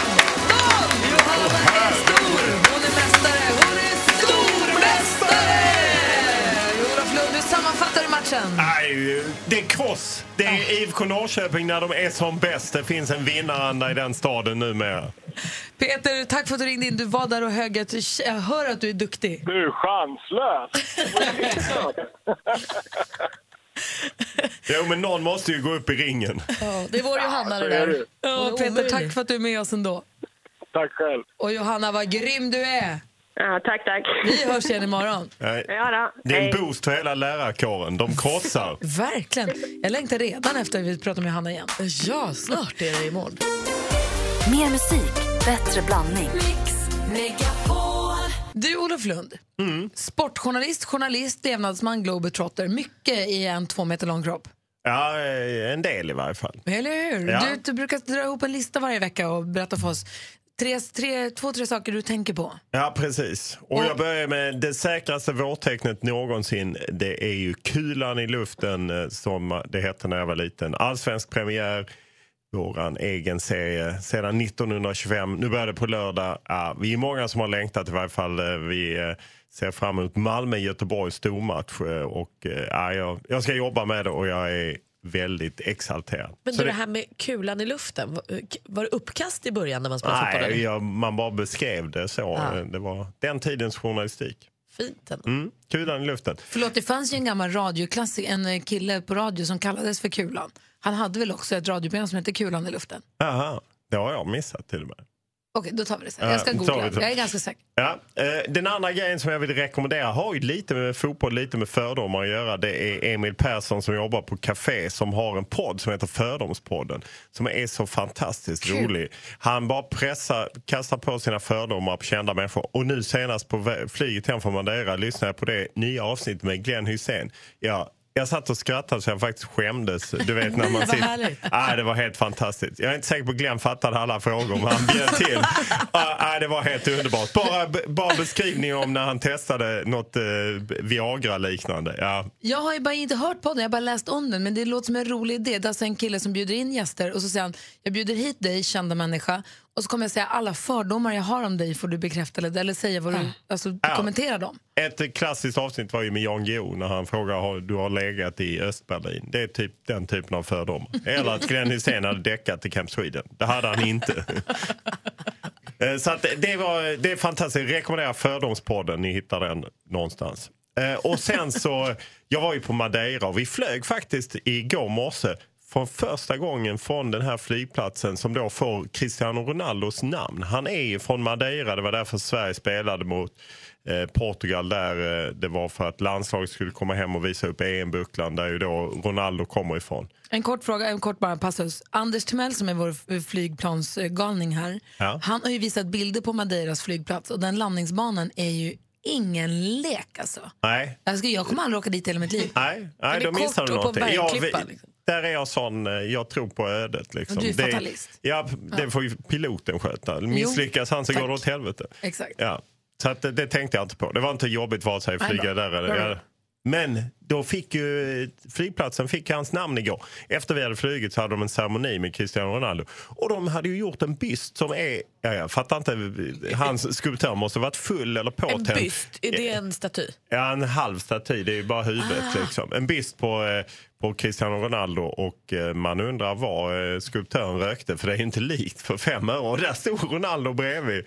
Johanna är stor! Hon är mästare! Hon är stormästare! Olof Lund, hur sammanfattar du matchen? Nej, det är kross. Det är IFK Norrköping när de är som bäst. Det finns en vinnaranda i den staden numera. Peter, tack för att du ringde in. Du var där och hög. att- Jag hör att du är duktig. Du är chanslös! Jo, men någon måste ju gå upp i ringen. Ja, det är vår Johanna det så är där. det. Ja, Hon är Peter, omöjlig. tack för att du är med oss ändå. Tack själv. Och Johanna, vad grym du är! Ja, tack, tack. Vi hörs igen imorgon. Nej. Ja, Det är en boost för hela lärarkåren. De krossar. Verkligen. Jag längtar redan efter vi pratar med Hanna igen. Ja, snart är det imorgon. Mer musik, bättre blandning. Du, Olof Lund, sportjournalist, journalist, levnadsman, globetrotter. Mycket i en två meter lång kropp. Ja, eh, en del i varje fall. Eller hur? Ja. Du, du brukar dra ihop en lista varje vecka och berätta för oss tre, tre, två, tre saker du tänker på. Ja, precis. Och jag börjar med det säkraste vårtecknet någonsin. Det är ju kulan i luften eh, som det hette när jag var liten. Allsvensk premiär, våran egen serie sedan 1925. Nu börjar det på lördag. Ja, vi är många som har längtat i varje fall. Eh, Vi eh, ser fram emot Malmö-Göteborgs stormatch. eh, Och, eh, ja, jag, jag ska jobba med det och jag är väldigt exalterad. Men Så du, det det- här med kulan i luften. var- Var det uppkast i början när man spelade fotboll? Nej, eller? jag, man bara beskrev det så. Ja. Det var den tidens journalistik. Fint ändå. Mm, kulan i luften. Förlåt, det fanns ju en gammal radioklassik, en eh, kille på radio som kallades för Kulan. Han hade väl också ett radioprogram som hette Kulan i luften? Aha, det har jag missat till och med. Okej, då tar vi det sen. Jag ska Ja, tar vi googla. det. Jag är ganska säker. Ja, eh, den andra grejen som jag vill rekommendera har ju lite med fotboll, lite med fördomar att göra. Det är Emil Persson som jobbar på Café som har en podd som heter Fördomspodden. Som är så fantastiskt Kul. rolig. Han bara pressar, kastar på sina fördomar på kända människor. Och nu senast på vä- flyget hem från Madeira lyssnade jag på det nya avsnittet med Glenn Hussein. Ja, jag satt och skrattade så jag faktiskt skämdes. Du vet när man Vad sitter... härligt. Ah, det var helt fantastiskt. Jag är inte säker på att Glenn fattade alla frågor, men han bjöd till. Ah, ah, det var helt underbart. Bara, bara beskrivning om när han testade något eh, Viagra-liknande. Ja. Jag har ju bara inte hört podden, jag har bara läst om den. Men det låter som en rolig idé. Det är alltså en kille som bjuder in gäster och så säger han, jag bjuder hit dig, kända människa. Och så kommer jag säga alla fördomar jag har om dig får du bekräfta eller, eller säga vad du, alltså Ja. kommentera dem. Ett klassiskt avsnitt var ju med Jan Guillou när han frågar har du har legat i Östberlin. Det är typ den typen av fördomar. Eller att Glenn Hysén hade däckat i Camp Sweden. Det hade han inte. Eh, Så att det, var, det är fantastiskt. Jag rekommenderar Fördomspodden. Ni hittar den någonstans. Eh, Och sen så, jag var ju på Madeira och vi flög faktiskt igår morse från första gången från den här flygplatsen som då får Cristiano Ronaldos namn. Han är ju från Madeira, det var därför Sverige spelade mot eh, Portugal där. Eh, det var för att landslaget skulle komma hem och visa upp EM-bucklan där ju då Ronaldo kommer ifrån. En kort fråga, en kort bara passus. Anders Timell som är vår f- flygplansgalning här, Ja. han har ju visat bilder på Madeiras flygplats och den landningsbanan är ju ingen lek alltså. Nej, Jag, ska, jag kommer aldrig åka dit i hela mitt liv. Nej, nej Den är då missar kort du och på någonting. en Jag, bergklippa, vi- Där är jag sån, eh, jag tror på ödet. Liksom. Du är Det- fatalist. Ja, det får ju piloten sköta. Misslyckas han så går det åt helvete. Exakt. Ja. Så att, eh, det, det tänkte jag inte på. Det var inte jobbigt vare sig att Nej, flyga bra. där Bra, eller... bra. Ja. Men då fick ju eh, flygplatsen fick hans namn igår. Efter vi hade flugit så hade de en ceremoni med Cristiano Ronaldo. Och de hade ju gjort en byst som är... Ja, jag fattar inte. Hans skulptör måste ha varit full eller En påtänd. byst, är det en staty? Ja, en halv staty. Det är ju bara huvudet. Liksom. En byst på, eh, på Cristiano Ronaldo och eh, man undrar var eh, skulptören rökte för det är ju inte likt för fem öre. Och där stod Ronaldo bredvid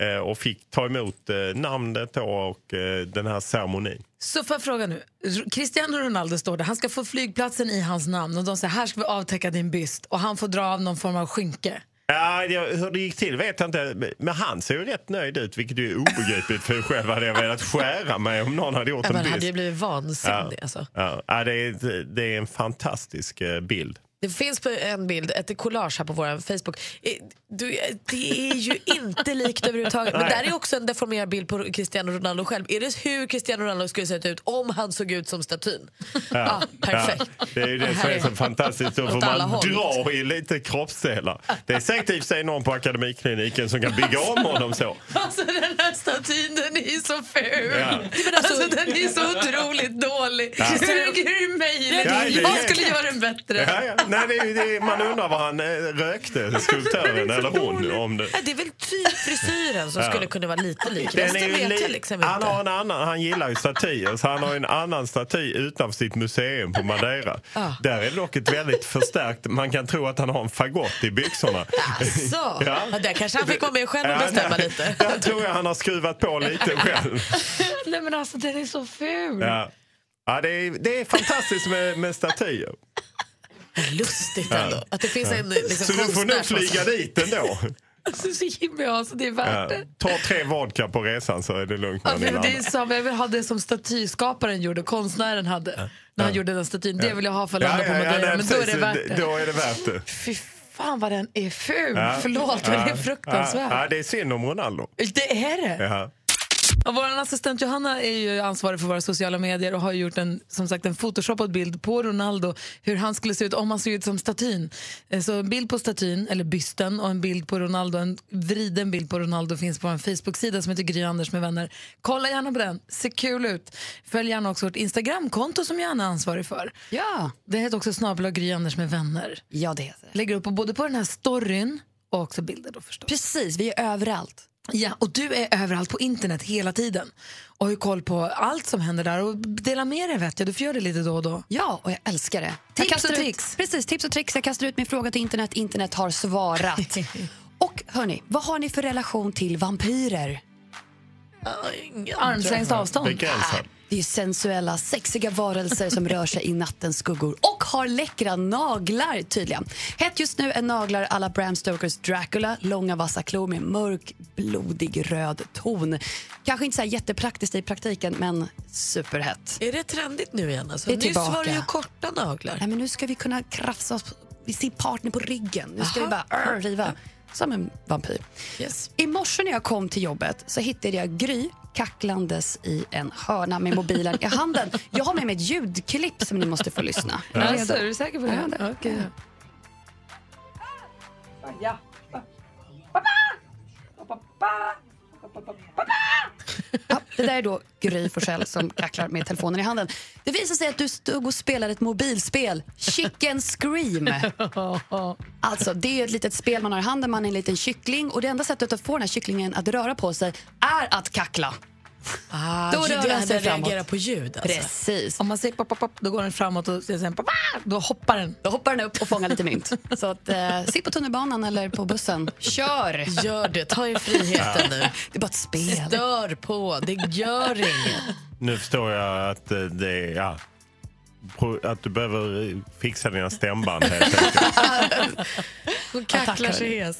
eh, och fick ta emot eh, namnet då och eh, den här ceremonin. Så får jag fråga nu, R- Cristiano Ronaldo står där, han ska få flygplatsen i hans namn och de säger här ska vi avtäcka din byst och han får dra av någon form av skynke. Ja, jag- hur det gick till vet jag inte, men han ser ju rätt nöjd ut vilket ju är obegripligt för själv hade jag velat skära mig om någon hade gjort Ja, en man byst. hade ju blivit vansinnig. Ja. Alltså. Ja. Ja, det, är, det är en fantastisk eh, bild. Det finns på en bild, ett collage här på vår Facebook. Eh, Du, eh, det är ju inte likt överhuvudtaget. Men Nej. där är också en deformerad bild på Cristiano Ronaldo själv. Är det hur Cristiano Ronaldo skulle sett ut om han såg ut som statyn? Ja, perfekt. Ja, det är ju det som är så fantastiskt. Då Åt får alla man håll. dra i lite kroppsdelar. Det är säkert i och för sig någon på akademikliniken som kan bygga om honom så. Alltså den här statyn den är ju så ful. Ja. Men alltså, den är så otroligt dålig. Ja. Hur, hur möjligt? Ja, det är- jag skulle göra den bättre. Ja, ja. Nej, det är, ju- det är, man undrar vad han eh, rökte, skulptören eller hon. Om det. Ja, det är väl typ frisyren som Ja. skulle kunna vara lite lik. Den Resten är ju vet li- jag liksom inte. han, har en annan, han gillar ju statyer, så han har ju en annan staty utanför sitt museum på Madeira. Ja. Där är det dock ett väldigt förstärkt... Man kan tro att han har en fagott i byxorna. Så. Ja. Ja. Där Alltså, kanske han fick vara med själv och Ja, bestämma nej. lite. Där tror jag han har skruvat på lite själv. Nej men alltså den är så ful. Ja. Ja, det, är, det är fantastiskt med, med statyer. Lustigt Ja. ändå. Att det finns Ja. en liksom, Så du får nu konstnär som- flyga dit ändå. Alltså så himla alltså det är värt Ja. det. Ta tre vodka på resan så är det lugnt. när Ja, ni men det är landar. samma, jag vill ha det som statyskaparen gjorde, konstnären hade. När han gjorde den statyn. Det vill jag ha för att Ja, landa på ja, ja, Madeira. nej, men då är det precis. värt det. Då är det värt det. Fy fan vad den är ful. Ja. Förlåt, men det är Ja. fruktansvärt. Ja, det är synd om Ronaldo. Det är det. Ja. Och vår assistent Johanna är ju ansvarig för våra sociala medier och har gjort en, som sagt, en photoshoppad bild på Ronaldo, hur han skulle se ut om han såg ut som statyn. Eh, Så en bild på statyn, eller bysten, och en bild på Ronaldo, en vriden bild på Ronaldo finns på en Facebook-sida som heter Gry Anders med vänner. Kolla gärna på den, ser kul ut. Följ gärna också vårt Instagram-konto som Johanna är ansvarig för. Ja. Det heter också snabel och Gry Anders med vänner. Ja, det heter Lägger upp både på den här storyn och också bilder då förstås. Precis, vi är överallt. Ja, och du är överallt på internet hela tiden och har koll på allt som händer där och dela med dig vet jag, du får göra det lite då och då. Ja, och jag älskar det. Tips jag kastar och ut, tricks. Precis, tips och tricks. Jag kastar ut min fråga till internet. Internet har svarat. och hörni, vad har ni för relation till vampyrer? Armslängds avstånd. Nej, Det är sensuella, sexiga varelser som rör sig i nattens skuggor och har läckra naglar tydligen. Hett just nu är naglar alla Bram Stokers Dracula, långa vassa klor med mörk, blodig röd ton. Kanske inte så här jättepraktiskt i praktiken, men superhett. Är det trendigt nu igen? Alltså, Det är nyss var det ju tillbaka. korta naglar. Nej, men nu ska vi kunna krafsa oss vid sin partner på ryggen. Nu ska Aha. vi bara arr, riva. Som en vampyr. I morse när jag kom till jobbet så hittade jag Gry kacklandes i en hörna med mobilen i handen. Jag har med mig ett ljudklipp som ni måste få lyssna. Alltså, är du säker på det? Ja, Okej. Ja. Pappa! Pappa! Pappa! Det där är då Gry Forssell som kacklar med telefonen i handen. Det visar sig att du stod och spelade ett mobilspel, Chicken Scream. Alltså, det är ett litet spel man har i handen, man är en liten kyckling och det enda sättet att få den här kycklingen att röra på sig är att kackla. Ah, Då det rör den sig den framåt. reagerar på ljud alltså. Precis. Om man säger pop, pop, pop, då går den framåt och sen pop, pop, då hoppar den. Då hoppar den upp och fångar lite mynt. Så att, eh, sitt på tunnelbanan eller på bussen. Kör! Gör det, ta er friheten nu. Det är bara ett spel. Stör på, det gör inget. Nu förstår jag att eh, det är... Ja. Pro- Att du behöver eh, fixa dina stämband. helt enkelt. Hon Ja, tack, kacklar sig hörni. hes.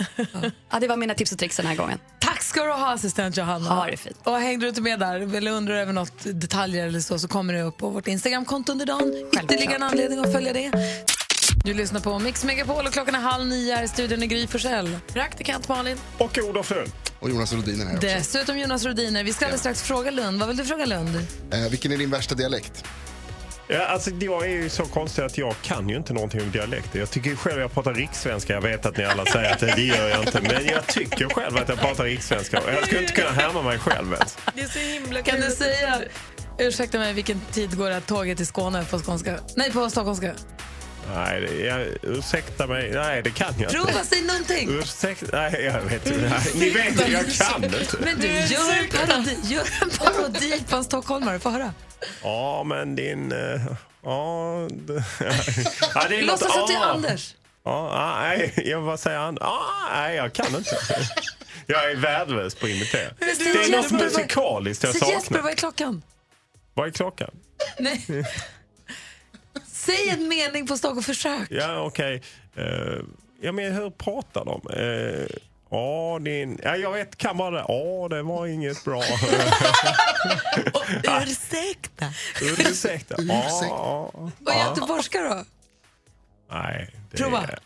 Ja, det var mina tips och tricks den här gången. Tack ska du ha assistent Johanna. Ha det fint. Och hängde du inte med där eller undrar över något detaljer eller så så kommer det upp på vårt Instagramkonto under dagen. Ytterligare en anledning att följa det. Du lyssnar på Mix Megapol och klockan är halv nio här i studion i Gry Forssell. Praktikant Malin. Och Olof Lund. Och Jonas Rhodin är här också. Dessutom Jonas Rhodiner. Vi ska alldeles strax fråga Lund. Vad vill du fråga Lund? Eh, vilken är din värsta dialekt? Ja, alltså, jag är ju så konstig att jag kan ju inte någonting om dialekter. Jag tycker ju själv jag pratar rikssvenska. Jag vet att ni alla säger att det gör jag inte. Men jag tycker själv att jag pratar rikssvenska. Och Jag skulle inte kunna härma mig själv ens. Det är så himla Kan du säga, ursäkta mig, vilken tid går det att tåget till Skåne på skånska? Nej, på stockholmska. Nej, det- jag, ursäkta mig. Nej, det kan jag inte. Prova, säg någonting. Ursäkta. Nej, jag vet inte. Nej, Ni vet ju, jag kan inte. Men du, gör en parodi, gör en parodi på en stockholmare. Få höra. Ja, men din... eh, Ja... d- ja, det är något- Låtsas att det är ja. Anders. Ja, ah, nej, jag vad säger han? Ja, nej, jag kan inte. Jag är värdelös på att imitera. Det Men du, är något Jesper, vad- musikaliskt jag Säg Jesper, saknar. vad är klockan? Vad är klockan? Nej. Säg en mening på stockholm, försök. Ja, okej. Eh, ja, men hur pratar de? Eh, Ja, din... Ja, jag vet, kan bara det. Ja, det var inget bra. Ursäkta. Ursäkta. Ja, ja. Och göteborgska då? Nej. det Prova. Är...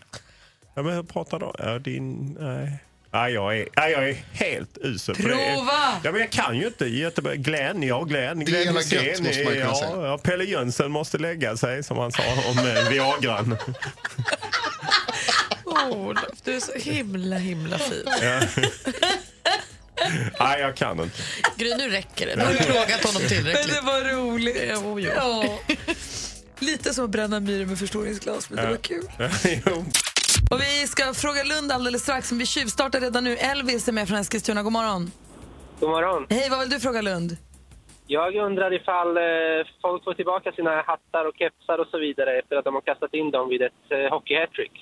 Ja, men hur pratar du? Ja, din... Nej. Nej, jag är, nej, jag är helt usel på det. Prova! Ja, men jag kan ju inte Göteborg. Glenn, ja Glenn. Det är Glenn jävla Hysén, gött, måste man ju kunna säga. ja, ja, Pelle Jönsson måste lägga sig, som han sa om eh, Viagran. Olof, Oh, du är så himla, himla fin. Ja. Nej, jag kan inte. Gry, nu räcker det. Nu har du plågat honom tillräckligt. Men det var roligt. Jo, jo. Ja. Lite som att bränna myror med förstoringsglas, men det var kul. jo. Och vi ska fråga Lund alldeles strax, men vi tjuvstartar redan nu. Elvis är med från Eskilstuna. God morgon. God morgon. Hej, vad vill du fråga Lund? Jag undrar ifall eh, folk får tillbaka sina hattar och kepsar och så vidare efter att de har kastat in dem vid ett eh, hockeyhattrick.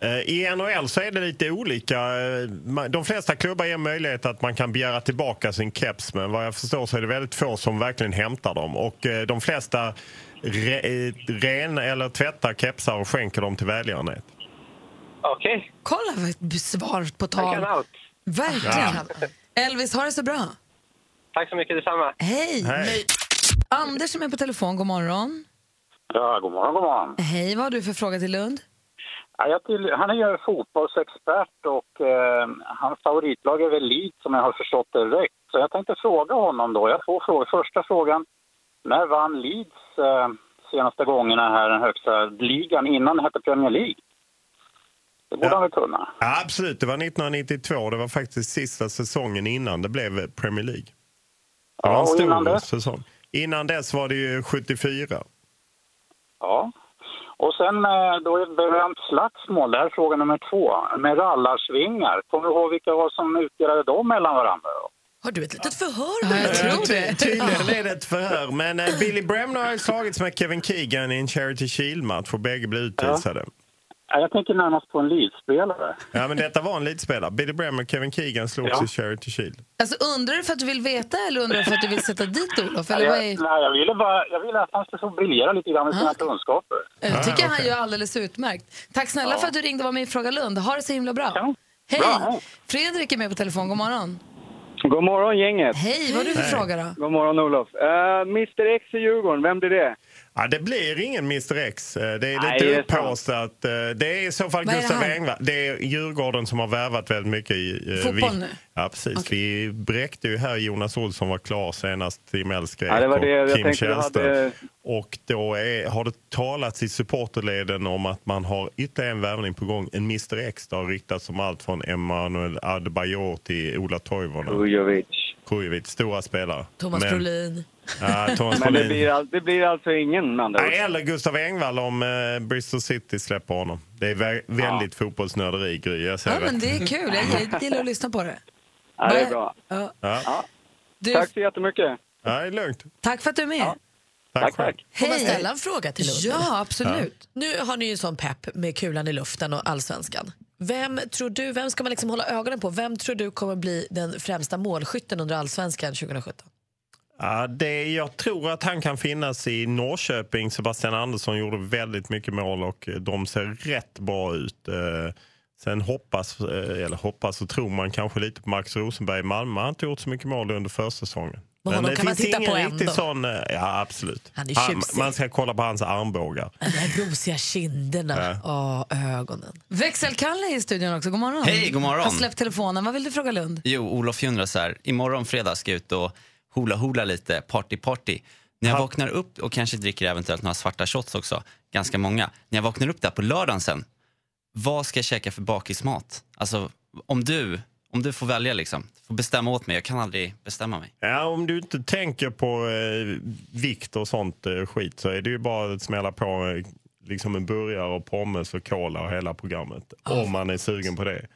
Eh, I NHL så är det lite olika. Eh, ma- De flesta klubbar ger möjlighet att man kan begära tillbaka sin keps men vad jag förstår så är det väldigt få som verkligen hämtar dem. Och eh, de flesta re, eh, ren eller tvättar kepsar och skänker dem till välgörenhet. Okej. Kolla vad ett b- svar på tal. Jag kan allt. Verkligen. Ja. Elvis, ha det så bra. Tack så mycket, detsamma. Hej! Anders som är på telefon, god morgon. Ja, god morgon, god morgon. Hej, vad har du för fråga till Lund? Ja, jag till, han är ju fotbollsexpert och eh, hans favoritlag är väl Leeds som jag har förstått det rätt. Så jag tänkte fråga honom då. Jag får fråga. Första frågan. När vann Leeds eh, senaste gångerna här den högsta ligan innan det hette Premier League? Det borde han väl kunna. Ja, absolut, det var 1992. Det var faktiskt sista säsongen innan det blev Premier League. Det Ja, var en och stor innan det? säsong. Innan dess var det ju 74. Ja. Och sen eh, då är det ett berömt slagsmål. Det här är fråga nummer två. Med rallarsvingar. Kommer du ihåg vilka var som utdelade dem mellan varandra? Då? Har du ett litet förhör? Ja, Eh, ty- Tydligen är det ett förhör. Men eh, Billy Bremner har ju slagits med Kevin Keegan i en Charity Shield-match och bägge blev utvisade. Ja, Jag tänker närmast på en leeds Ja, men detta var en leadspelare. Billy Bremner och Kevin Keegan slogs Ja. i Charity Shield. Alltså, undrar du för att du vill veta eller undrar du för att du vill sätta dit Olof? Nej, Eller vad jag, är... nej, jag ville bara jag ville att han skulle få briljera lite grann med sina kunskaper. Jag tycker han gör alldeles utmärkt. Tack snälla Ja. för att du ringde och var med i Fråga Lund. Ha det så himla bra. Hej! Bra, hej. Fredrik är med på telefon. God morgon. God morgon gänget! Hej, vad har du för fråga då? God morgon Olof! Eh, Mr X i Djurgården, vem blir det? Ja, det blir ingen Mr X. Eh, Det Nej, är det lite är upphaussat. Eh, Det är i så fall Vad är det Gustav här? Engvall. Det är Djurgården som har värvat väldigt mycket. I, eh, Fotboll vi- nu? Ja, precis. Vi bräckte ju här Jonas Olsson var klar senast, Tim Elskrek Ja, det var det jag och Kim tänkte du Källström. hade- Och då är, har det talats i supporterleden om att man har ytterligare en värvning på gång. En Mr X. Det har ryktats som allt från Emanuel Adebayor till Ola Toivonen. Kujovic. Kujovic, stora spelare. Thomas Men- Brolin. Ja, Thomas Men det Brolin. blir, all, det blir alltså ingen med andra ord. Nej, Eller Gustav Engvall om eh, Bristol City släpper honom. Det är vä- väldigt fotbollsnörderi, Gry. Jag ser Ja, men det. det är kul. Jag gillar att lyssna på det. Ja, det är bra. Ja. Ja. Ja. Du- Tack så jättemycket! det är lugnt. Tack för att du är med. Tack, tack, Får man ställa en fråga till Lund? Ja, absolut. Nu har ni ju en sån pepp med kulan i luften och allsvenskan. Vem tror du, vem ska man liksom hålla ögonen på? Vem tror du kommer bli den främsta målskytten under allsvenskan 2017? Ja, det, jag tror att han kan finnas i Norrköping. Sebastian Andersson gjorde väldigt mycket mål och eh, de ser rätt bra ut. Eh, Sen hoppas, eh, eller hoppas och tror man kanske lite på Max Rosenberg i Malmö. Han har inte gjort så mycket mål under försäsongen. Men honom det kan man finns titta på ingen riktig ändå. sån... eh, Ja, absolut. Han är tjusig. man ska kolla på hans armbågar. De här rosiga kinderna och ögonen. Växelkalle är i studion också. God morgon. Hej, god morgon. Har släppt telefonen. Vad vill du fråga Lund? Jo, Olof Junras här. Imorgon fredag ska jag ut och hula-hula lite, party party. När jag vaknar upp och kanske dricker eventuellt några svarta shots också, ganska många. När jag vaknar upp där på lördagen sen, vad ska jag käka för bakismat? Alltså, om du, om du får välja liksom, får bestämma åt mig, jag kan aldrig bestämma mig. Ja, om du inte tänker på eh, vikt och sånt eh, skit så är det ju bara att smälla på eh, liksom en burgare och pommes och cola och hela programmet. Ah. Om man är sugen på det.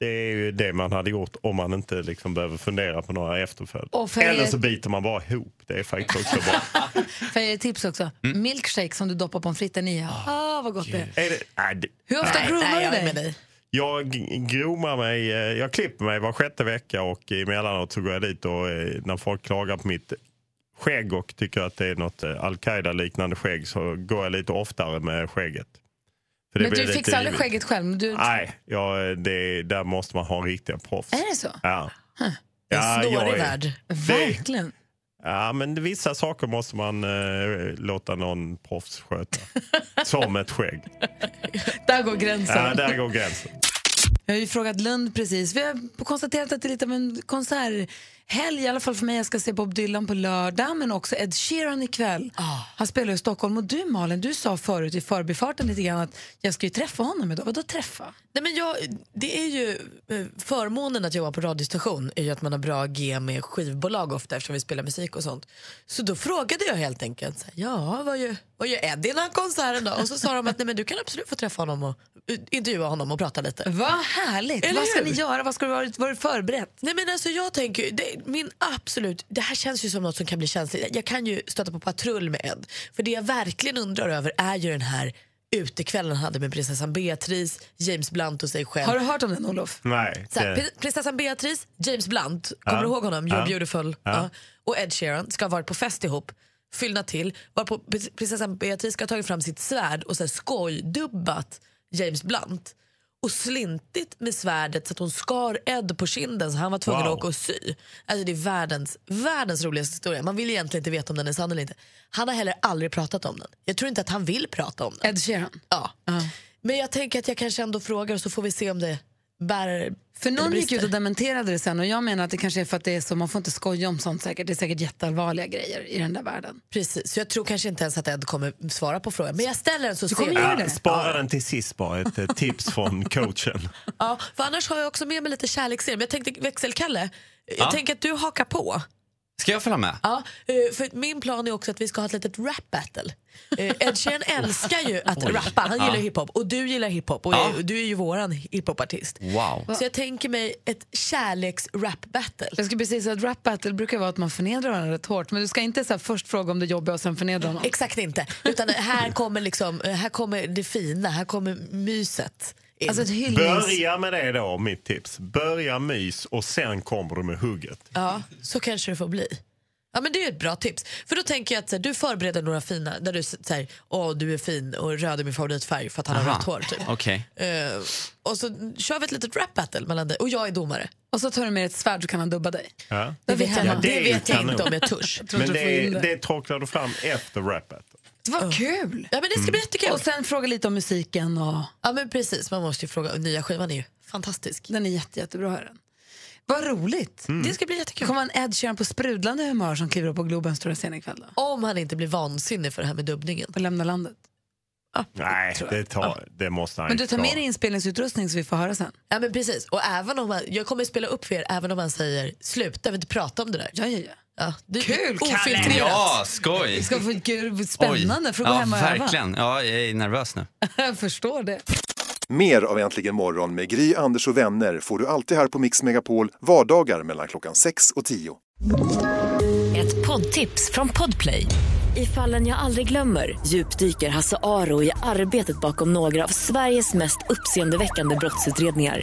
Det är ju det man hade gjort om man inte liksom behöver fundera på några efterföljd. Och för Eller er- så biter man bara ihop. Det är faktiskt också bra. Får jag ge ett tips också? Milkshake som du doppar pommes fritesen i. Ah, vad gott det är. är det, nej, det, Hur ofta nej. groomar du dig? Jag g- groomar mig, eh, jag klipper mig var sjätte vecka och emellanåt så går jag dit och eh, när folk klagar på mitt skägg och tycker att det är något eh, al-Qaida-liknande skägg så går jag lite oftare med skägget. För det Men blir du lite fixar aldrig givigt. skägget själv? men Du... Nej, jag, eh, det, där måste man ha riktiga proffs. Är det så? Ja. Det är en jag snårig är- värld. Det, Verkligen. Ja, men vissa saker måste man eh, låta någon proffs sköta. Som ett skägg. Där går gränsen. Ja, där går gränsen. Jag har ju frågat Lund precis. Vi har konstaterat att det är lite av en konserthelg, i alla fall för mig. Jag ska se Bob Dylan på lördag, men också Ed Sheeran ikväll. Ah. Han spelar i Stockholm. Och du Malin, du sa förut i förbifarten lite grann att jag ska ju träffa honom idag. Vadå träffa? Nej, men jag, det är ju eh, förmånen att jobba på radiostation är ju att man har bra G med skivbolag ofta eftersom vi spelar musik och sånt. Så då frågade jag helt enkelt, så här, ja vad gör, vad gör Eddie innan konserten då? Och så sa de att nej, men du kan absolut få träffa honom och eh, intervjua honom och prata lite. Vad härligt! Eller Vad ska hur? ni göra? Vad ska du vara, vara förberett? Nej men alltså jag tänker, ju- det, min absolut, det här känns ju som något som kan bli känsligt. Jag kan ju stöta på patrull med Ed. För det jag verkligen undrar över är ju den här utekvällen han hade med prinsessan Beatrice, James Blunt och sig själv. Har du hört om den Olof? Nej. Så här, det- pri- prinsessan Beatrice, James Blunt, kommer Ja. du ihåg honom? You're Ja. beautiful. Ja. Ja. Och Ed Sheeran ska ha varit på fest ihop, fyllna till. Var på prinsessan Beatrice ska ha tagit fram sitt svärd och så här skojdubbat James Blunt. Och slintigt med svärdet så att hon skar Ed på kinden så han var tvungen Wow. att åka och sy. Alltså det är världens, världens roligaste historia. Man vill egentligen inte veta om den är sann eller inte. Han har heller aldrig pratat om den. Jag tror inte att han vill prata om den. Ed Sheeran? Ja. Men jag tänker att jag kanske ändå frågar och så får vi se om det bär För eller någon gick brister. ut och dementerade det sen och jag menar att det kanske är för att det är så, man får inte skoja om sånt säkert. Det är säkert jätteallvarliga grejer i den där världen. Precis, så jag tror kanske inte ens att Ed kommer svara på frågan. Men jag ställer den så Du kommer ser vi. göra det? Spara den till sist bara, ett eh, tips från coachen. Ja, för annars har jag också med mig lite kärleksserie. Men jag tänkte, växelkalle, jag Ja. tänker att du hakar på. Ska jag följa med? Ja, eh, för min plan är också att vi ska ha ett litet rap-battle. Eh, Ed Sheeran älskar ju att Oj. rappa, han gillar Ja. hiphop och du gillar hiphop och Ja. jag- du är ju våran hiphopartist. Wow. Så jag tänker mig ett kärleks-rap-battle. Jag skulle precis säga att rap battle brukar vara att man förnedrar varandra rätt hårt. Men du ska inte så här först fråga om det jobbar och sen förnedra honom. Exakt inte. Utan här kommer, liksom, här kommer det fina, här kommer myset. in. Alltså Börja med det då, mitt tips. Börja mys och sen kommer du med hugget. Ja, så kanske det får bli. Ja, men det är ett bra tips. För då tänker jag att så här, du förbereder några fina, där du s- så här, åh du är fin och röd är min favoritfärg för att han har Aha. rött hår. Typ. Okej. Eh, och så kör vi ett litet rap battle mellan dig och jag är domare. Och så tar du med ett svärd så kan han dubba dig. Ja. Då är vi hemma. är Det ju vet jag kanon. inte om jag törs. Jag tror Men inte jag får det, in det. det torklar du fram efter rappet. Vad kul! Ja, men det ska bli Mm. jättekul. Och sen fråga lite om musiken. Och... Ja men precis, man måste ju fråga. Och Nya skivan är ju fantastisk. Den är jätte, jättebra. Här. Vad roligt! Mm. Det ska bli jättekul. kommer en Ed Sheeran på sprudlande humör som kliver upp på Globens stora scen ikväll. Då. Om han inte blir vansinnig för det här med dubbningen. Och lämnar landet. Nej, det, tar, det måste han Men du inte tar med klara. dig inspelningsutrustning så vi får höra sen. Ja men precis, och även om han, jag kommer spela upp för er även om han säger sluta, vi vill inte prata om det där. Ja, ja, ja. det, Kul Kalle! Ja, skoj! Det ska få gud, spännande för att gå ja, hem och verkligen. Ja, jag är nervös nu. öva. Jag förstår det. Mer av Äntligen morgon med Gry, Anders och vänner får du alltid här på Mix Megapol vardagar mellan klockan 6 och 10. Ett poddtips från Podplay. I fallen jag aldrig glömmer djupdyker Hasse Aro i arbetet bakom några av Sveriges mest uppseendeväckande brottsutredningar.